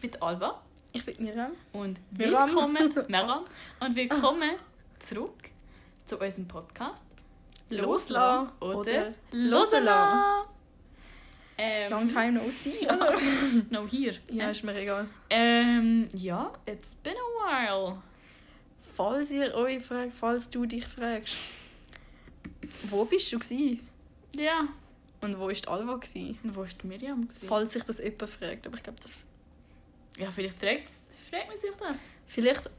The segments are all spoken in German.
bin Alba Ich bin Miriam. und Miram. willkommen, Meram, und willkommen zurück zu unserem Podcast Losla Losla oder oder Losela. Long Ähm, time no see. Ja. Ähm, no here. ja, ist mir egal. Ähm, ja, it's been a while. Falls ihr euch fragt, falls du dich fragst, wo bist du gsi Ja. und wo ist die Alva gsi? Und wo war die Miriam? Gewesen? Falls sich das jemand fragt, aber ich glaube, das Ja, vielleicht trägt's- fragt man sich das. vielleicht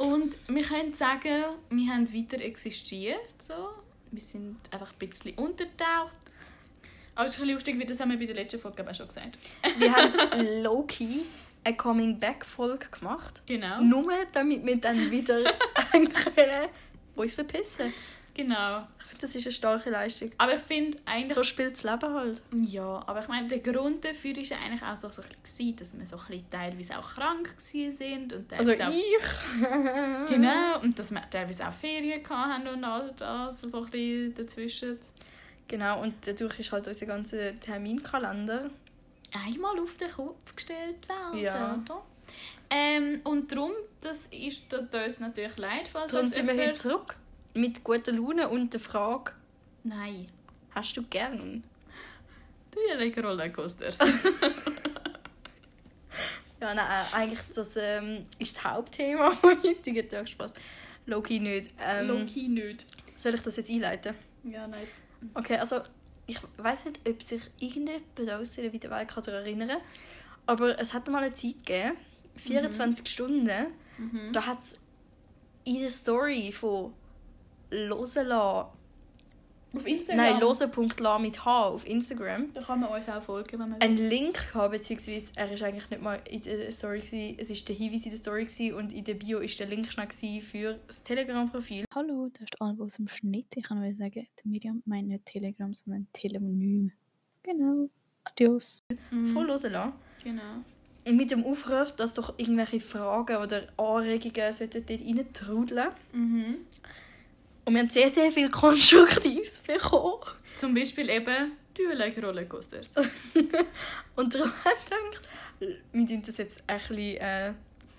Und wir können sagen, wir haben weiter existiert. So. Wir sind einfach ein bisschen untertaucht. Aber es ist ein bisschen lustig, wie das haben wir bei der letzten Folge glaub ich, auch schon gesagt. wir haben low-key eine Coming-Back-Folge gemacht. Genau. Nur damit wir dann wieder können uns verpissen. Genau. Ich finde, das ist eine starke Leistung. Aber ich finde eigentlich. So spielt das Leben halt. Ja, aber ich meine, der Grund dafür war ja eigentlich auch so, so ein bisschen, dass wir so ein bisschen teilweise auch krank waren und Also teilweise auch. ich. Genau, und dass wir teilweise auch Ferien hatten und all das, so ein bisschen dazwischen. Genau, und dadurch ist halt unser ganzer Terminkalender. einmal auf den Kopf gestellt werden. Ja. Oder? Ähm, und darum, das ist tut uns natürlich leid, falls Darum uns sind wir jemand- heute zurück mit guter Laune und der Frage, Nein, hast du gern? du ja lecker Rollercoasters. Ja, nein, äh, eigentlich das ähm, ist das Hauptthema vom heutigen Tag Spaß. Loki nicht. Ähm, Loki nicht. Soll ich das jetzt einleiten? Ja, nein. Okay, also ich weiß nicht, ob sich irgendjemand aus der weiten Welt daran erinnern kann, aber es hat mal eine Zeit gegeben, 24 Stunden, Mhm. da hat es in der Story von Losela, Auf Instagram. nein, lose.la mit H auf Instagram, Da kann man uns auch folgen, wenn man einen Link gehabt, beziehungsweise er ist eigentlich nicht mal in der Story, gewesen, es ist der Hinweis in der Story gewesen, und in der Bio ist der Link schnell gewesen für das Telegram-Profil. Hallo, das ist Alba aus dem Schnitt. Ich kann mal sagen, die Miriam meint nicht Telegram, sondern Telemonym. Genau. Adios. will. Mhm. Von Losela. Genau. Und mit dem Aufruf, dass doch irgendwelche Fragen oder Anregungen sollten dort rein trudeln. Mhm. Und wir haben sehr, sehr viel Konstruktives bekommen. Zum Beispiel eben, du ja lecker Rollercoasters. Und darum haben wir gedacht, wir tun das jetzt ein bisschen äh,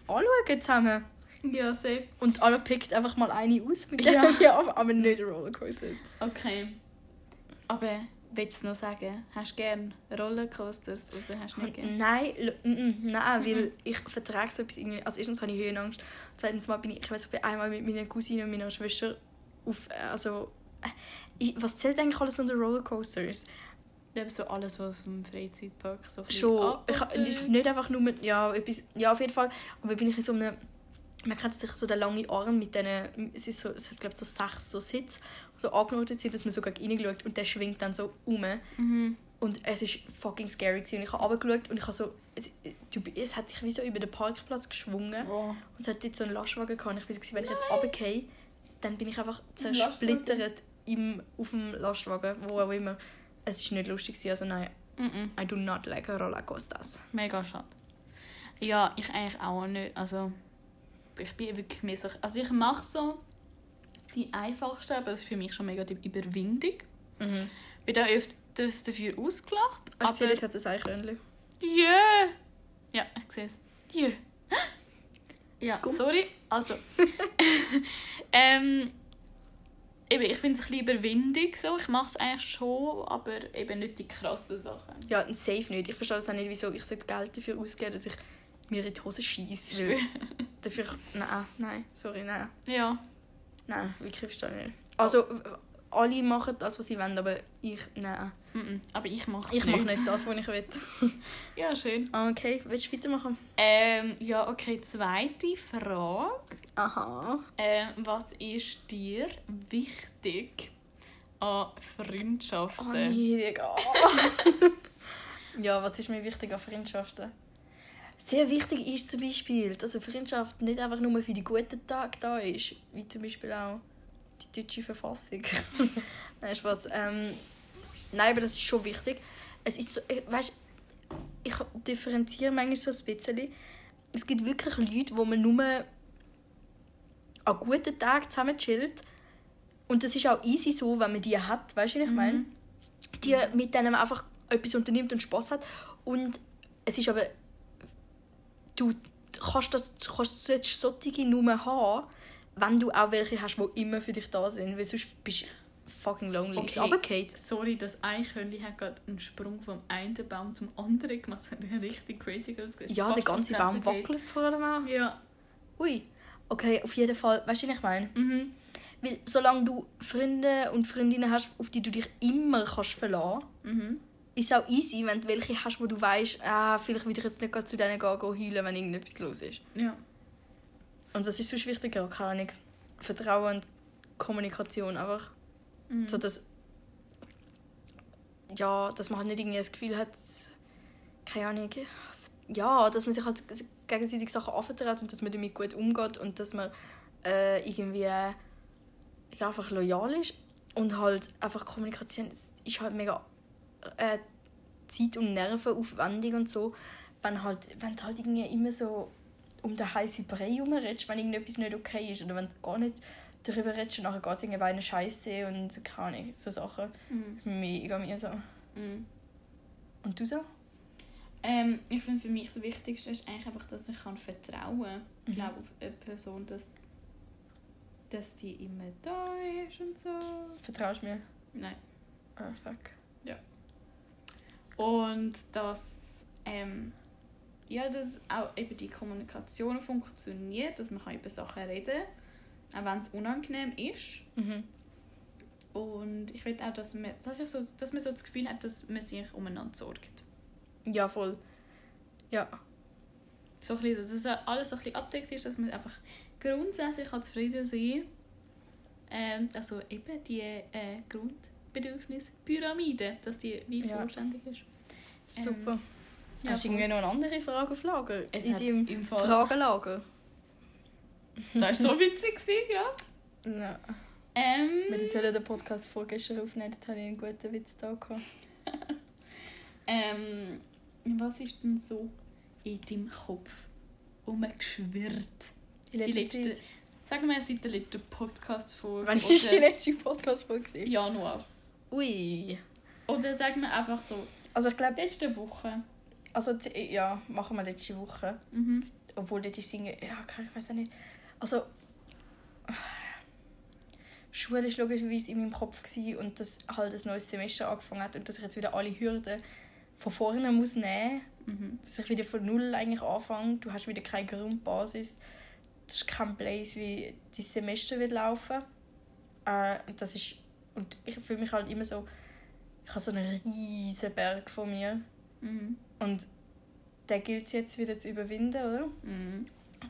anschauen zusammen. ja, safe. Und alle pickt einfach mal eine aus, mit der Ja. wir aber, aber nicht Rollercoasters. Okay. Aber willst du es noch sagen? Hast du gern Rollercoasters oder hast du nicht gern? Nein, l- mm, mm, nein, Mhm. weil ich vertrage so etwas irgendwie. Also erstens habe ich Höhenangst. Zweitens mal bin ich, ich weiß, ich bin einmal mit meiner Cousine und meiner Schwester auf, äh, also äh, ich, was zählt eigentlich alles unter Rollercoasters? Eben so alles, was aus dem Freizeitpark so ein bisschen Schon. ab- Ich, ha- ist es nicht einfach nur mit, ja, etwas, ja, auf jeden Fall. Aber bin ich in so einem, man kennt sich so den langen Arm mit diesen, es, ist so, es hat glaube ich so sechs so Sitz, so angeordnet sind, dass man sogar reingeschaut und der schwingt dann so um. Mhm. Und es war fucking scary. Gewesen. Und ich habe runtergeschaut und ich habe so, es, du, es hat dich wie so über den Parkplatz geschwungen. Oh. Und es hat dort so einen Lastwagen gehabt. Und ich war so, wenn ich jetzt Nein. runtergehe, dann bin ich einfach Im Lastwagen? zersplittert im, auf dem Lastwagen, wo auch immer. Es war nicht lustig, gewesen, also nein, Mhm. I do not like Rollercoasters. Mega schade. Ja, ich eigentlich auch nicht. Also, ich bin wirklich mehr so... Also ich mache so die einfachsten, aber das ist für mich schon mega die Überwindung. Mhm. bin da öfters dafür ausgelacht. Hast du aber... erzählt, hat es ein Eichhörnchen. Jö! Ja, ich sehe es. Jö. Ja, Skum. sorry. Also. ähm, eben, ich finde es ein bisschen überwindig. So. Ich mache es eigentlich schon, aber eben nicht die krassen Sachen. Ja, ein Safe nicht. Ich verstehe das auch nicht, wieso ich sollte Geld dafür ausgeben, dass ich mir in die Hose schieße. Weil dafür, nein, nein, sorry, nein. ja. Nein, wirklich verstehe ich nicht. Also, w- alle machen das, was sie wollen, aber ich, nein. mhm. Aber ich mache es Ich nicht. mache nicht das, was ich will. Ja, schön. Okay, willst du weitermachen? Ähm, ja, okay, zweite Frage. Aha. Ähm, was ist dir wichtig an Oh Freundschaften? nee, Digga. ja, was ist mir wichtig an Freundschaften? Sehr wichtig ist zum Beispiel, dass eine Freundschaft nicht einfach nur für die guten Tage da ist, wie zum Beispiel auch die deutsche Verfassung. nein, Spaß. Ähm, nein, aber das ist schon wichtig. Es ist so, weißt, ich differenziere manchmal so ein bisschen. Es gibt wirklich Leute, wo man nur an guten Tagen zusammen chillt. Und das ist auch easy so, wenn man die hat, weißt Mhm. du, was ich meine? Die mit denen man einfach etwas unternimmt und Spaß hat. Und es ist aber du kannst das, du kannst, solltest solche Nummern haben, wenn du auch welche hast, die immer für dich da sind, weil sonst bist du fucking lonely. Okay. Ist runtergefallen. Sorry, das Eichhörnchen hat gerade einen Sprung vom einen Baum zum anderen gemacht. Das hat richtig crazy ausgesehen. Ja, der ganze Baum wackelt vor allem auch. also Ja. Ui. Okay, auf jeden Fall. Weißt du, was ich meine? Mhm. Weil solange du Freunde und Freundinnen hast, auf die du dich immer kannst verlassen Mhm. ist auch easy, wenn du welche hast, wo du weißt, ah, vielleicht würde ich jetzt nicht gerade zu denen gehen, gehen heulen, wenn irgendetwas los ist. Ja. Und was ist sonst wichtig? Ja, keine Ahnung. Vertrauen und Kommunikation einfach. Mhm. So, dass, ja, dass man halt nicht irgendwie das Gefühl hat, keine Ahnung, ja, dass man sich halt gegenseitig Sachen anvertraut und dass man damit gut umgeht und dass man äh, irgendwie ja, einfach loyal ist und halt einfach Kommunikation das ist halt mega äh, Zeit- und Nervenaufwendig und so, wenn, halt, wenn du halt irgendwie immer so um den heißen Brei herumredest, wenn irgendetwas nicht okay ist oder wenn du gar nicht darüber redest und nachher geht es irgendwie eine Scheiße und keine Ahnung, so Sachen. Mhm. Mega mühsam. Mhm. Und du so? Ähm, ich finde für mich das Wichtigste ist eigentlich einfach, dass ich kann vertrauen kann. Mhm. Ich glaube auf eine Person, dass, dass die immer da ist und so. Vertraust du mir? Nein. Ah, fuck. Und dass ähm, ja, dass auch eben die Kommunikation funktioniert, dass man kann über Sachen reden kann, auch wenn es unangenehm ist. Mhm. Und ich will auch, dass man, dass, ich so, dass man so das Gefühl hat, dass man sich umeinander sorgt. Ja, voll. Ja. So ein bisschen, dass es alles so ein bisschen abdeckt ist, dass man einfach grundsätzlich kann zufrieden sein ähm, Also eben die äh, Grundbedürfnispyramide, dass die wie Ja. vollständig ist. ja, Super. Ähm, Hast du voll. irgendwie noch eine andere Frage auf Lager? Es In hat deinem im Fall- Fragenlager? Das war so witzig gewesen gerade. Nein. Wir Ähm, sollen den Podcast vorgestern aufnehmen, da hatte ich einen guten Witz da. Gehabt. ähm, was ist denn so in deinem Kopf rumgeschwirrt? In Die letzte, sagen wir seit der letzten Podcast-Folge. Wann war die oder letzte Podcast-Folge? Januar. Ui. Oder sagen wir einfach so, Also ich glaube, letzte Woche. also, z- ja, machen wir letzte Woche. Mhm. Obwohl dort ist irgendwie, ja, keine- ich weiß auch nicht. Also, Schule war logischerweise in meinem Kopf gewesen und dass halt ein neues Semester angefangen hat und dass ich jetzt wieder alle Hürden von vorne muss nehmen Mhm. dass ich wieder von null eigentlich anfange. Du hast wieder keine Grundbasis. Du hast keinen Place, wie dein Semester wird laufen. Äh, und das ist und ich fühle mich halt immer so, ich habe so einen riesen Berg vor mir Mhm. und der gilt es jetzt wieder zu überwinden, oder? Mhm.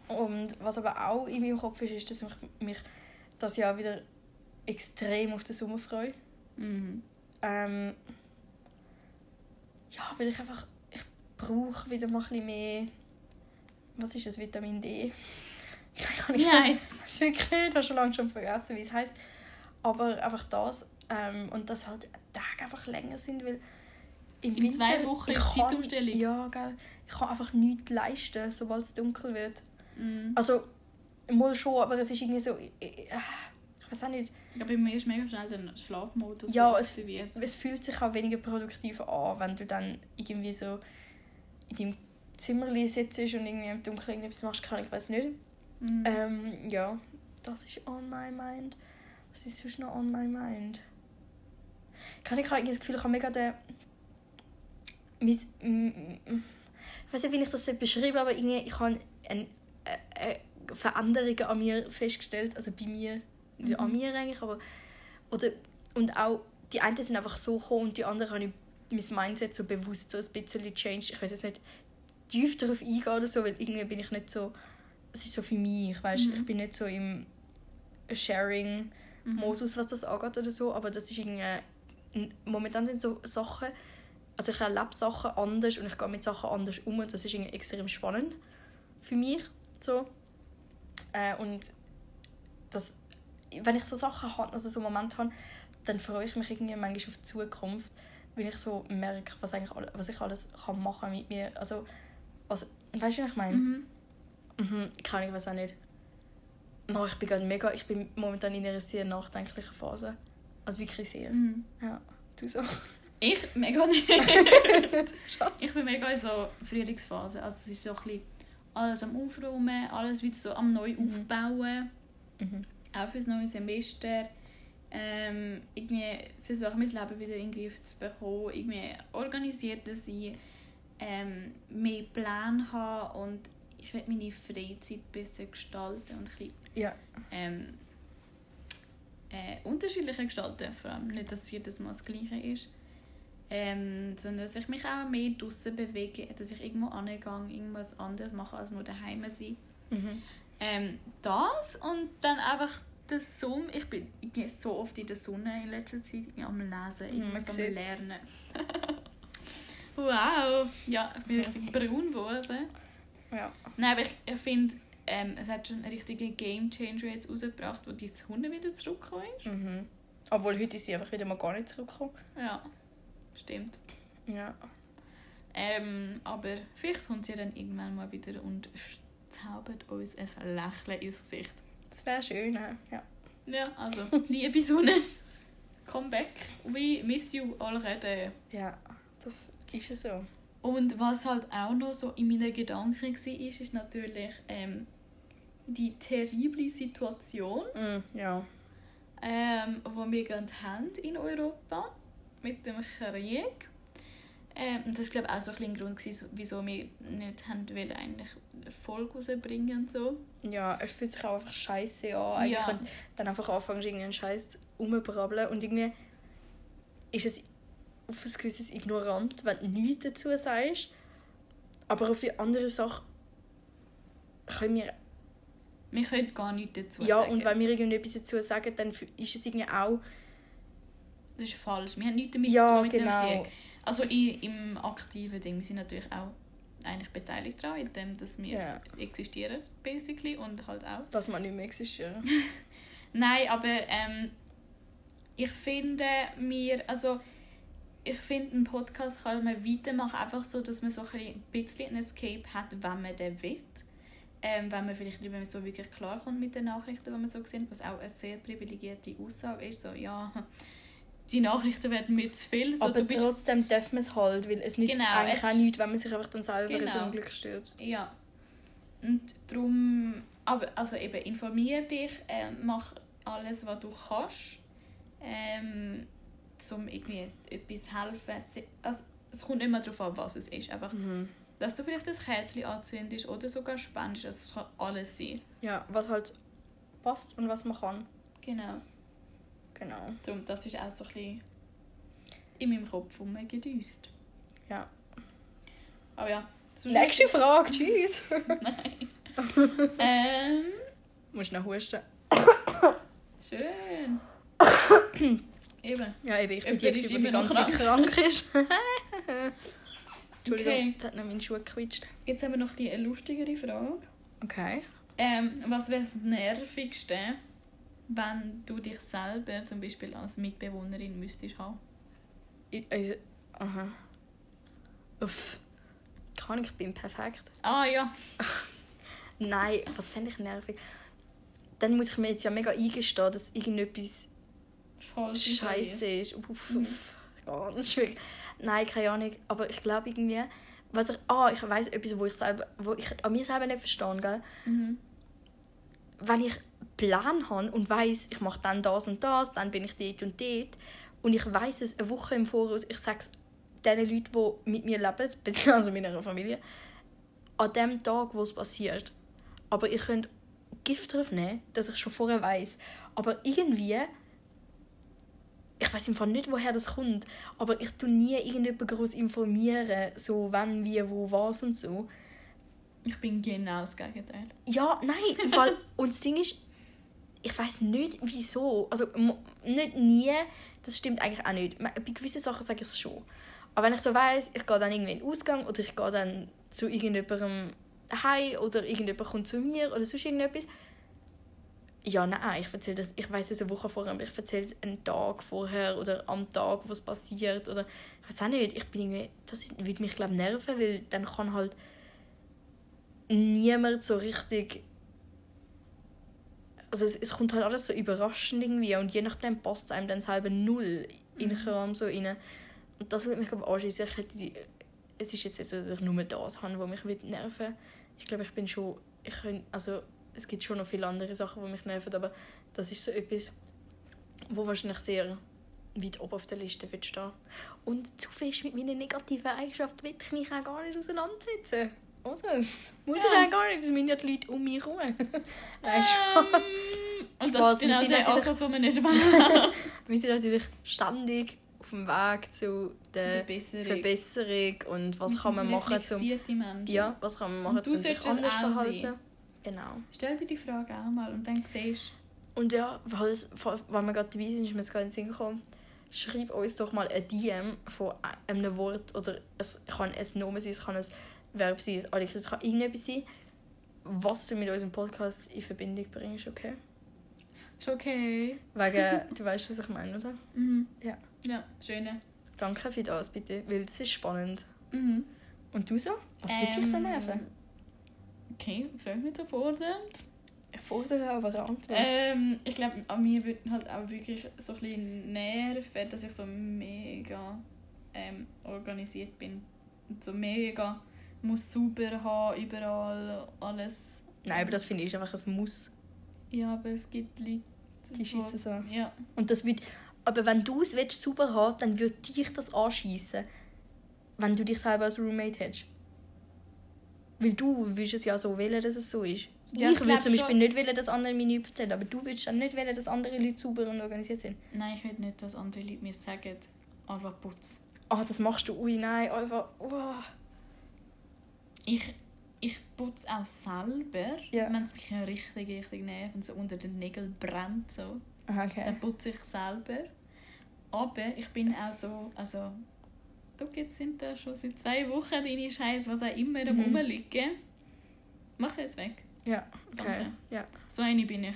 Und was aber auch in meinem Kopf ist, ist, dass ich mich das Jahr wieder extrem auf den Sommer freue. Mhm. Ähm, ja, weil ich einfach, ich brauche wieder mal ein bisschen mehr, was ist das, Vitamin D? Ich kann nicht Nice. das wirklich nicht, habe schon lange schon vergessen, wie es heißt. Aber einfach das ähm, und dass halt die Tage einfach länger sind, weil im In zwei Wochen ich ist kann- Zeitumstellung. Ja, gell. Ich kann einfach nichts leisten, sobald es dunkel wird. Mhm. Also, mal schon, aber es ist irgendwie so. Ich, ich, ah, ich weiß auch nicht. Ja, bei mir ist mega schnell der Schlafmodus. Ja, es- aktiviert. Es fühlt sich auch weniger produktiv an, wenn du dann irgendwie so in deinem Zimmerli sitzt und irgendwie im Dunkeln irgendetwas machst. Keine Ahnung, Ich weiß nicht. Mhm. Ähm, ja, das ist on my mind. Was ist sonst noch on my mind? Kann ich habe irgendwie das Gefühl, ich habe mega den. Mis, m, m, ich weiß nicht, wie ich das beschreibe, aber irgendwie, ich habe eine, eine Veränderung an mir festgestellt. Also bei mir. nicht An Mhm. mir eigentlich, aber. Oder, und auch die einen sind einfach so gekommen und die anderen habe ich mein Mindset so bewusst so ein bisschen changed. Ich weiß jetzt nicht tief darauf eingehen oder so, weil irgendwie bin ich nicht so. Es ist so für mich, weißt du? Mhm. Ich bin nicht so im Sharing-Modus, was das angeht oder so, aber das ist irgendwie. n- Momentan sind so Sachen. Also ich erlebe Sachen anders und ich gehe mit Sachen anders um und das ist irgendwie extrem spannend für mich. So. Äh, und das, wenn ich so Sachen habe, also so Momente habe, dann freue ich mich irgendwie manchmal auf die Zukunft, weil ich so merke, was, eigentlich, alle- was ich alles kann machen mit mir. Also, also weißt du, was ich meine? Mhm. Mhm, kann ich weiß auch nicht. No, ich bin gerade mega, ich bin momentan in einer sehr nachdenklichen Phase. Also wirklich sehr. Mhm. Ja, du so. Ich mega nicht. Schade. ich bin mega in so Frühlingsphase. Also es ist so ein bisschen alles am Aufräumen, alles wieder so am neu Mhm. aufbauen. Mhm. Auch fürs neue Semester. Ähm, irgendwie versuche mein Leben wieder in den Griff zu bekommen, irgendwie organisierter sein, ähm, mehr Pläne haben und ich will meine Freizeit besser gestalten und ein bisschen Ja. ähm, äh, unterschiedlicher gestalten. Vor allem nicht, dass jedes Mal das Gleiche ist. Ähm, sondern dass ich mich auch mehr draußen bewege, dass ich irgendwo angehe, irgendwas anderes mache als nur daheim sein. Mhm. Ähm, das und dann einfach der Summ. Ich bin, ich bin so oft in der Sonne in letzter Zeit irgendwie am Lesen, Mhm, irgendwas am sieht's. Lernen. wow! Ja, ich bin richtig braun geworden. Ja. Nein, aber ich, ich finde, ähm, es hat schon einen richtigen Game Changer jetzt rausgebracht, wo die Hunde wieder zurückgekommen ist. Mhm. Obwohl heute ist sie einfach wieder mal gar nicht zurückgekommen. Ja, stimmt. Ja. Ähm, aber vielleicht kommt sie dann irgendwann mal wieder und sch- zaubert uns ein Lächeln ins Gesicht. Das wäre schön, hä? ja. Ja, also, liebe Sonne, come back. We miss you already. Ja, das ist ja so. Und was halt auch noch so in meinen Gedanken war, ist, ist natürlich ähm, die terrible Situation, Mhm. Ja. ähm, wo wir gerade haben in Europa mit dem Krieg. Ähm, und das war glaube ich auch so ein bisschen ein Grund, gewesen, so- wieso wir nicht haben wollen, eigentlich Erfolg rausbringen und so. Ja, es fühlt sich auch einfach scheiße an. Eigentlich, Ja. wenn du dann einfach anfängst, irgendeinen Scheiß rumbrabbeln. Und irgendwie ist es auf ein gewisses ignorant, wenn du nichts dazu sagst. Aber auf die andere Sache können wir. Wir können gar nichts dazu ja, sagen. und wenn wir irgendetwas dazu sagen, dann fü- ist es irgendwie auch. das ist falsch. Wir haben nichts damit zu ja, tun mit dem Krieg. genau. Also i- im aktiven Ding, wir sind natürlich auch eigentlich beteiligt daran, in dem, dass wir Ja. existieren, basically, und halt auch. Dass man nicht mehr existieren. Nein, aber ähm, ich finde mir, also ich finde, einen Podcast kann man weitermachen, einfach so, dass man so ein bisschen ein Escape hat, wenn man den will. Ähm, wenn man vielleicht nicht mehr so wirklich klarkommt mit den Nachrichten, die man so sieht, was auch eine sehr privilegierte Aussage ist, so, ja, die Nachrichten werden mir zu viel, so, aber du bist trotzdem darf man es halt, weil es nützt Genau, eigentlich es auch ist- nichts, wenn man sich einfach dann selber ins Genau. Unglück stürzt. Ja. Und darum, aber also eben informier dich, ähm, mach alles, was du kannst, ähm, um irgendwie etwas helfen. Se- Also, es kommt immer darauf an, was es ist. Einfach, Mhm. dass du vielleicht ein Kerzchen anzündest oder sogar spendest. Also, es kann alles sein. Ja, was halt passt und was man kann. Genau. Genau. Darum, das ist auch so ein bisschen in meinem Kopf rumgedüst. Ja. Aber ja. sonst- Nächste Frage, tschüss. Ähm, Musst noch husten. schön. eben. Ja, eben, ich bin Jemand ist die, Einzige, die die immer ganze noch Zeit krank ist. Entschuldigung, Okay. jetzt hat noch meinen Schuh gequetscht. Jetzt haben wir noch ein bisschen eine lustigere Frage. Okay. Ähm, was wäre das Nervigste, wenn du dich selber zum Beispiel als Mitbewohnerin müsstest haben? Ich, also, aha. Uff. Kann ich bin perfekt. Ah ja, Nein, was fände ich nervig? Dann muss ich mir jetzt ja mega eingestehen, dass irgendetwas voll scheiße ist. Uff, uff. Ganz schwierig. Nein, keine Ahnung. Aber ich glaube irgendwie, was ich. Ah, ich weiß etwas, wo ich selber, wo ich an mir selber nicht verstehe, gell? Mhm. wenn ich einen Plan habe und weiß, ich mache dann das und das, dann bin ich dort und dort und ich weiß es eine Woche im Voraus, ich sage es den Leuten, die mit mir leben, beziehungsweise meiner Familie, an dem Tag, wo es passiert. Aber ich könnte Gift drauf nehmen, dass ich schon vorher weiß. Aber irgendwie, ich weiß im Fall nicht, woher das kommt, aber ich tue nie irgendjemanden groß informieren, so wann, wie, wo, was und so. Ich bin genau das Gegenteil. Ja, nein, weil und das Ding ist, ich weiß nicht wieso, also m- nicht nie, das stimmt eigentlich auch nicht. Ma- Bei gewissen Sachen sage ich es schon. Aber wenn ich so weiß, ich gehe dann irgendwie in den Ausgang oder ich gehe dann zu irgendjemandem heim oder irgendjemand kommt zu mir oder sonst irgendetwas. Ja, nein, ich erzähle das, ich weiß es eine Woche vorher, aber ich erzähle es einen Tag vorher oder am Tag, wo es passiert oder ich weiß auch nicht, ich bin irgendwie, das würde mich glaube nerven, weil dann kann halt niemand so richtig. Also es, es kommt halt alles so überraschend irgendwie und je nachdem passt es einem dann selber null in den Kram so rein. Und das würde mich glaube ich anschliessen. Ich hätte die, es ist jetzt nicht so, dass ich nur das habe, was mich wird nerven ich glaube, ich bin schon, ich könnte, also es gibt schon noch viele andere Sachen, die mich nerven, aber das ist so etwas, wo wahrscheinlich sehr weit oben auf der Liste wird stehen. Und zu fest mit meiner negativen Eigenschaft will ich mich auch gar nicht auseinandersetzen. Oder? Das muss ich Ja. auch gar nicht, das sind ja die Leute um mich herum. Nein, schon. Ähm, und das Spaß, ist wir genau sind der natürlich- Ansatz, den wir nicht wollen. Wir sind natürlich ständig auf dem Weg zu der Verbesserung. Verbesserung und was Wir kann man sind machen, um reflektierte Menschen. Ja, was kann man Und machen, du um sich solltest es anders auch verhalten? sehen. Genau. Stell dir die Frage auch mal und dann siehst Und ja, falls, falls, wenn wir gerade dabei sind, ist mir jetzt gerade in den Sinn gekommen, schreib uns doch mal ein DM von einem Wort oder es kann ein Nomen sein, es kann ein Verb sein, ein Adjektiv, es kann irgendetwas sein, was du mit unserem Podcast in Verbindung bringst, okay? du, ist okay. Wegen, du weißt, was ich meine, oder? Mhm. Ja. Ja, schöne. Danke für das, bitte, weil das ist spannend. Mhm. Und du so? Was ähm, würde dich so nerven? Okay, frag mich zuvordernd. Ich fordere aber eine Antwort. Ähm, ich glaube, an mir würde halt auch wirklich so ein bisschen nerven, dass ich so mega ähm, organisiert bin. Und so mega muss sauber haben, überall, alles. Nein, aber das finde ich ist einfach ein Muss. Ja, aber es gibt Leute, Die schiessen es an. Ja. Und das wird, aber wenn du es willst, super haben, dann würde dich das anschießen, wenn du dich selber als Roommate hättest. Weil du würdest es ja so wählen, dass es so ist. Ja, ich ich würde glaub zum Beispiel schon. nicht wählen, dass andere mir nichts erzählen, aber du würdest dann nicht wählen, dass andere Leute sauber und organisiert sind. Nein, ich will nicht, dass andere Leute mir sagen, Alva putz. Ah, das machst du, ui, nein, einfach, oh. uah. Ich, ich putze auch selber, Ja. wenn es mich richtig, richtig nervt, wenn es so unter den Nägeln brennt. So. Aha, okay. dann putze ich selber. Aber ich bin auch so, also du jetzt sind da schon seit zwei Wochen deine Scheiß, was auch immer am Mhm. rumliegen. Mach's jetzt weg. Ja, okay. Danke. Ja. So eine bin ich.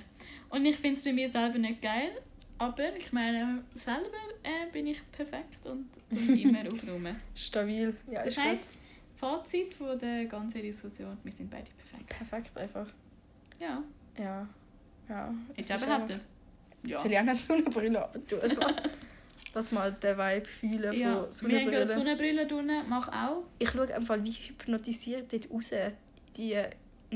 Und ich finde es bei mir selber nicht geil, aber ich meine, selber äh, bin ich perfekt und bin immer aufräumen. Stabil. Ja, Das ist heisst, gut. Fazit von der ganzen Diskussion, wir sind beide perfekt. Perfekt einfach. Ja, Ja. Ja. jetzt Es ist auch behauptet. Ja. Ja. Soll ich auch nicht Sonnenbrille abtun? Lass mal den Vibe fühlen Ja, von wir haben Sonnenbrille. Sonnenbrille drinnen, mach auch. Ich schaue einfach, wie hypnotisiert dort raus die Wir haben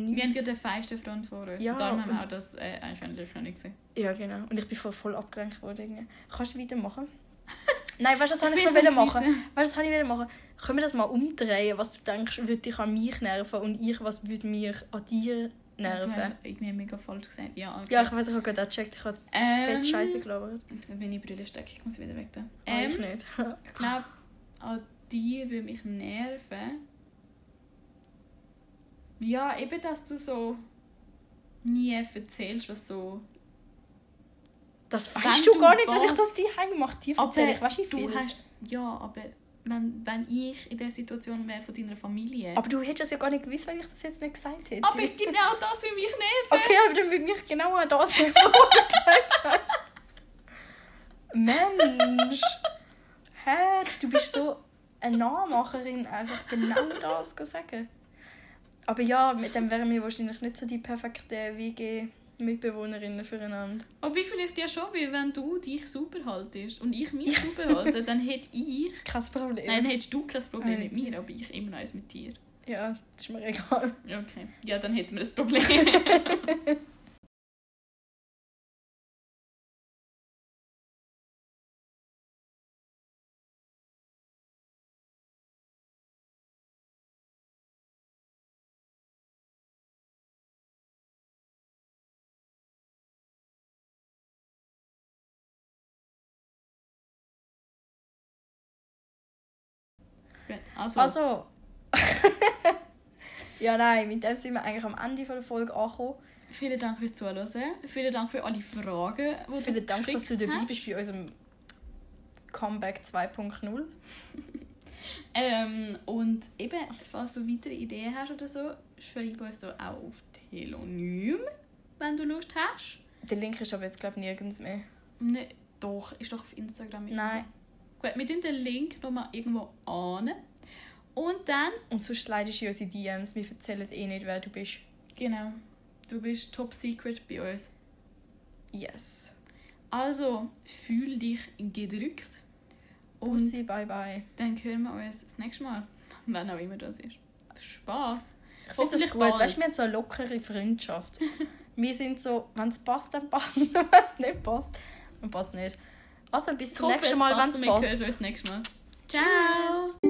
Nichts. gerade den feisten Front vor uns. Ja, Ja, Darum haben wir und- auch das äh, eigentlich schon nicht gesehen. Ja, genau. Und ich bin voll, voll abgelenkt worden. Irgendwie. Kannst du weitermachen? Nein, weißt du, was Ich wollte bin ich noch wollen so am machen? Geniessen. Weißt du, was wollte ich wollen machen? Können wir das mal umdrehen, was du denkst, würde dich an mich nerven und ich, was würde mich an dir Du hast nerven? irgendwie mega falsch gesagt. Ja, okay. Ja, ich weiß, ich habe gerade auch gecheckt, ich habe ähm, fett Scheiße gelabert. Dann bin ich Brille stecken, ich muss wieder weg. da. Ah, ich Ähm, nicht. ich glaube, an dir würde mich nerven. Ja, eben, dass du so nie erzählst, was so. Das Wenn weißt du du gar nicht, dass ich was- das dir gemacht habe. Dir erzähle ich, weißt du, wie du viel. hast. Ja, aber wenn, wenn ich in der Situation wäre von deiner Familie. Aber du hättest das ja gar nicht gewusst, wenn ich das jetzt nicht gesagt hätte. aber genau das würde mich nerven. Okay, aber dann würde ich genau an das denken, was du gesagt hast. Mensch! Hä? Du bist so eine Nahmacherin, einfach genau das zu sagen. Aber ja, mit dem wären wir wahrscheinlich nicht so die perfekte WG-Mitbewohnerinnen füreinander. Aber ich vielleicht ja schon, weil wenn du dich super haltest und ich mich super halte, dann hätte ich. Kein Problem. Nein, dann hättest du kein Problem mit Nein. mir, aber ich immer noch eins mit dir. Ja, das ist mir egal. Okay. Ja, dann hätten wir ein Problem. Gut, Also, Also. ja, nein, mit dem sind wir eigentlich am Ende von der Folge angekommen. vielen Dank fürs Zuhören. Vielen Dank für alle Fragen, die du Vielen Dank, dass du geschickt dabei hast. bist bei unserem Comeback 2.0. Ähm, und eben, falls du weitere Ideen hast oder so, schreib uns doch auch auf Telonym, wenn du Lust hast. Der Link ist aber jetzt, glaube ich, nirgends mehr. Ne, doch, ist doch auf Instagram. irgendwo. Nein. Gut, wir tun den Link nochmal irgendwo an. Und dann, Und sonst slidest du in unsere DMs. Wir erzählen eh nicht, wer du bist. genau, du bist top secret bei uns. Yes. Also, fühl dich gedrückt. Und Bussi, bye bye. dann hören wir uns das nächste Mal, wenn auch immer das ist. Spaß! Ich finde das Hoffentlich gut. bald. Weißt du, wir haben so eine lockere Freundschaft. wir sind so, wenn es passt, dann passt. wenn es nicht passt, dann passt nicht. Also bis Ich zum hoffe, nächsten es Mal, wenn passt es und Wir hören passt. uns nächstes Mal. Ciao.